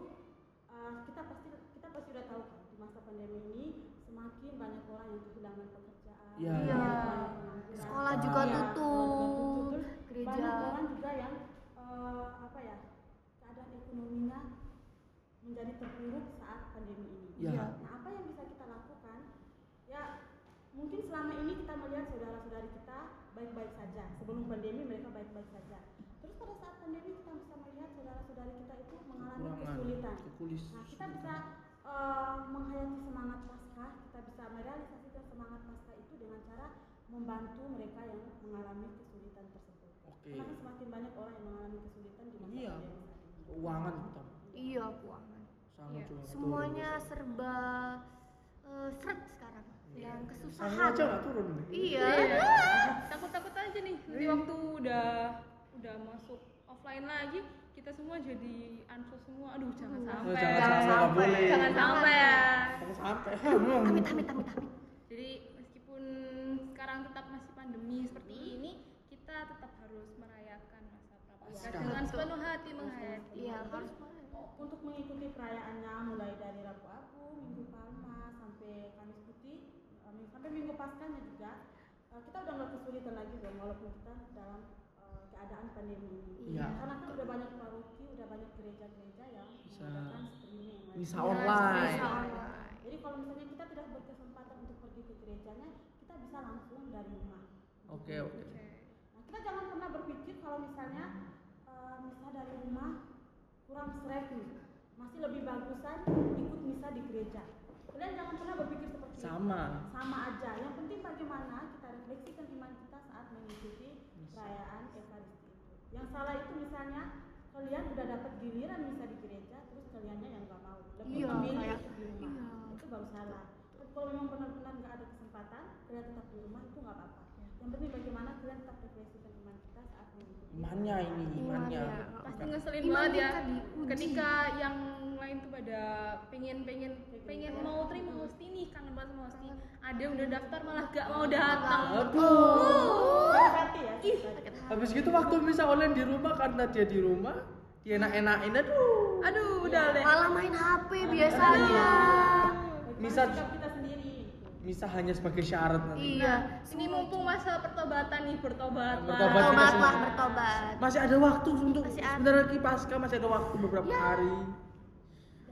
Speaker 4: eh, kita pasti kita pasti udah tahu kan di masa pandemi ini semakin banyak orang yang kehilangan pekerjaan.
Speaker 3: Iya.
Speaker 4: banyak
Speaker 2: Iya.
Speaker 4: orang yang pengangguran.
Speaker 2: Sekolah
Speaker 3: Ah.
Speaker 2: juga
Speaker 4: Iya,
Speaker 2: tutup,
Speaker 4: sekolah juga tutup.
Speaker 2: gereja.
Speaker 4: Banyak orang juga yang eh, apa ya keadaan ekonominya menjadi terpuruk saat pandemi ini.
Speaker 3: Iya. Iya.
Speaker 4: Nah, apa yang bisa kita lakukan? Ya, mungkin selama ini kita melihat saudara-saudari kita baik-baik saja. Sebelum pandemi mereka baik-baik saja. Terus pada saat pandemi kita bisa melihat saudara-saudari kita itu mengalami
Speaker 3: Kekurangan,
Speaker 4: kesulitan.
Speaker 3: kekulis-
Speaker 4: Nah, kita bisa eh, menghayati semangat Paskah, kita bisa merealisasikan semangat Paskah itu dengan cara membantu mereka yang mengalami kesulitan tersebut.
Speaker 3: Oke.
Speaker 4: Karena kan semakin banyak orang yang mengalami kesulitan di masa
Speaker 3: Iya.
Speaker 4: pandemi saat ini.
Speaker 3: Keuangan kita
Speaker 2: Iya, keuangan.
Speaker 3: sangat
Speaker 5: Iya.
Speaker 3: juga
Speaker 2: Semuanya serba eh, seret sekarang
Speaker 3: Iya.
Speaker 2: dan
Speaker 3: turun.
Speaker 2: kesusahan.
Speaker 3: Sangat aja nggak turun. ya?
Speaker 2: Iya.
Speaker 5: Iya. Takut-takut aja nih. Nanti waktu udah udah masuk offline lagi, kita semua jadi ansos semua. Aduh, jangan sampai.
Speaker 3: jangan sampai, nggak boleh.
Speaker 5: Jangan sampai ya.
Speaker 3: Jangan sampai.
Speaker 2: Amit, amit, amit, amit.
Speaker 5: Jadi meskipun sekarang tetap masih pandemi seperti ini, kita tetap harus merayakan masa prapaskah
Speaker 3: Pasca.
Speaker 5: dengan sepenuh hati menghayati.
Speaker 2: Iya, harus.
Speaker 4: Untuk mengikuti perayaannya mulai dari Rabu Abu, Minggu Palma sampai Kamis Putih, eh, Minggu- sampai Minggu Paskahnya juga eh, kita udah nggak kesulitan lagi dong walaupun kita dalam eh, keadaan pandemi ini.
Speaker 3: Iya.
Speaker 4: Karena kan udah banyak paroki, udah banyak gereja-gereja yang
Speaker 3: Bisa.
Speaker 4: mengadakan streaming. live
Speaker 3: Bisa
Speaker 4: streaming.
Speaker 3: online.
Speaker 4: Bisa
Speaker 2: Iya, online.
Speaker 4: Jadi kalau misalnya kita tidak berkesempatan untuk pergi ke gerejanya, kita bisa langsung dari rumah.
Speaker 3: Oke, oke.
Speaker 5: Oke.
Speaker 4: Nah, kita jangan pernah berpikir kalau misalnya eh, misa dari rumah kurang seret nih. Masih lebih bagusan ikut misa di gereja. Kalian jangan pernah berpikir seperti itu
Speaker 3: Sama.
Speaker 4: sama aja. Yang penting bagaimana kita refleksikan iman kita saat mengikuti perayaan Ekaristi itu. Yang salah itu misalnya kalian udah dapat giliran bisa di gereja, terus kaliannya yang nggak mau, lebih
Speaker 2: Iya,
Speaker 4: memilih
Speaker 2: kayak-
Speaker 4: ikut di rumah.
Speaker 2: iya.
Speaker 4: Itu baru salah. Tapi kalau memang benar-benar nggak ada kesempatan, kalian tetap di rumah itu nggak apa-apa.
Speaker 2: Iya.
Speaker 4: Yang penting bagaimana kalian tetap refleksikan iman kita saat mengikuti.
Speaker 3: Imannya ini,
Speaker 2: Iya,
Speaker 3: imannya.
Speaker 2: Imannya.
Speaker 5: Pasti ngeselin
Speaker 2: Iman
Speaker 5: banget ya
Speaker 2: kita diuji.
Speaker 5: ketika yang lain tuh pada pengen pengen pengen mau terima hosti nih kangen banget sama hosti. Ada yang udah daftar malah gak mau datang.
Speaker 3: Iya. Aduh.
Speaker 2: Iya.
Speaker 4: Sakit hati ya. sakit hati.
Speaker 3: Habis gitu waktu bisa online di rumah karena dia di rumah, dia enak-enakin aduh.
Speaker 5: Aduh, udah deh.
Speaker 2: Malah main HP
Speaker 3: Iya.
Speaker 2: biasanya.
Speaker 4: Bagaimana
Speaker 3: Misa-
Speaker 4: sikap kita sendiri. gitu.
Speaker 3: Bisa hanya sebagai syarat nanti.
Speaker 2: Iya.
Speaker 5: Nah, Ini mumpung masa pertobatan nih, bertobatlah.
Speaker 3: Bertobat kita
Speaker 2: Bertobatlah,
Speaker 3: semua.
Speaker 2: bertobat.
Speaker 3: Masih ada waktu untuk
Speaker 2: Iya. Masih ada. Iya.
Speaker 3: sebentar lagi pasca masih ada waktu beberapa hari.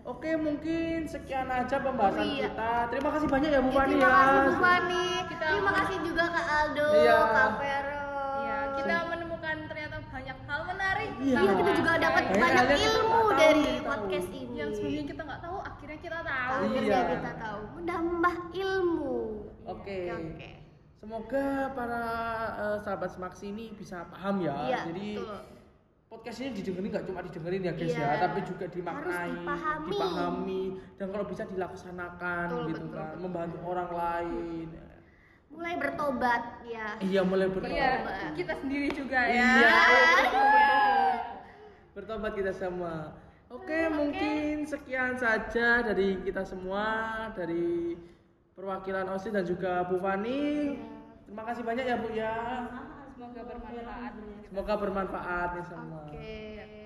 Speaker 3: Oke, mungkin sekian aja pembahasan
Speaker 2: Iya.
Speaker 3: kita. Terima kasih banyak ya Bu
Speaker 2: Eh,
Speaker 3: Fani
Speaker 2: terima
Speaker 3: ya.
Speaker 2: kasih Bu Fani.
Speaker 5: Kita-
Speaker 2: Terima kasih juga Kak Aldo,
Speaker 3: Iya.
Speaker 2: Kak Vero.
Speaker 5: Iya,
Speaker 2: Oh.
Speaker 5: kita menemukan ternyata banyak hal menarik.
Speaker 3: Iya.
Speaker 5: tentang
Speaker 2: kita juga
Speaker 5: bahasa
Speaker 2: dapat
Speaker 3: Banyak
Speaker 2: banyak
Speaker 3: hal yang kita
Speaker 2: ilmu
Speaker 3: nggak tahu,
Speaker 2: dari
Speaker 3: kita tahu.
Speaker 2: podcast ini.
Speaker 5: yang sebelumnya kita nggak tahu, akhirnya kita tahu.
Speaker 2: Akhirnya
Speaker 3: Iya.
Speaker 2: kita tahu, menambah ilmu.
Speaker 3: Oke. Nah,
Speaker 2: Oke.
Speaker 3: Semoga para eh, sahabat Smaksi ini bisa paham ya.
Speaker 2: Iya,
Speaker 3: Jadi
Speaker 2: betul.
Speaker 3: podcast ini didengerin nggak cuma didengerin ya guys
Speaker 2: Iya.
Speaker 3: ya, tapi juga dimaknai,
Speaker 2: Harus dipahami.
Speaker 3: dipahami, dan kalau bisa dilaksanakan
Speaker 2: Betul,
Speaker 3: gitu
Speaker 2: betul,
Speaker 3: kan,
Speaker 2: betul.
Speaker 3: membantu orang lain.
Speaker 2: Mulai bertobat ya.
Speaker 3: Iya mulai bertobat.
Speaker 5: Iya, kita sendiri juga ya.
Speaker 3: Iya, ayo kita bertobat. Bertobat kita semua. Oke, mungkin sekian saja dari kita semua dari perwakilan OSIS dan juga Bu Fani. Terima kasih banyak ya Bu ya.
Speaker 5: Semoga bermanfaat.
Speaker 3: Semoga bermanfaat ya semua.
Speaker 2: Oke.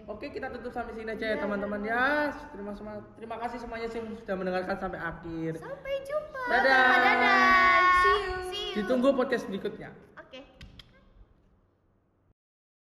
Speaker 3: Oke, kita tutup sampai sini aja ya teman-teman ya. Terima semua, terima kasih semuanya yang sudah mendengarkan sampai akhir.
Speaker 2: Sampai jumpa.
Speaker 3: Dadah.
Speaker 2: Dadah. See you. ya.
Speaker 3: Ditunggu podcast berikutnya.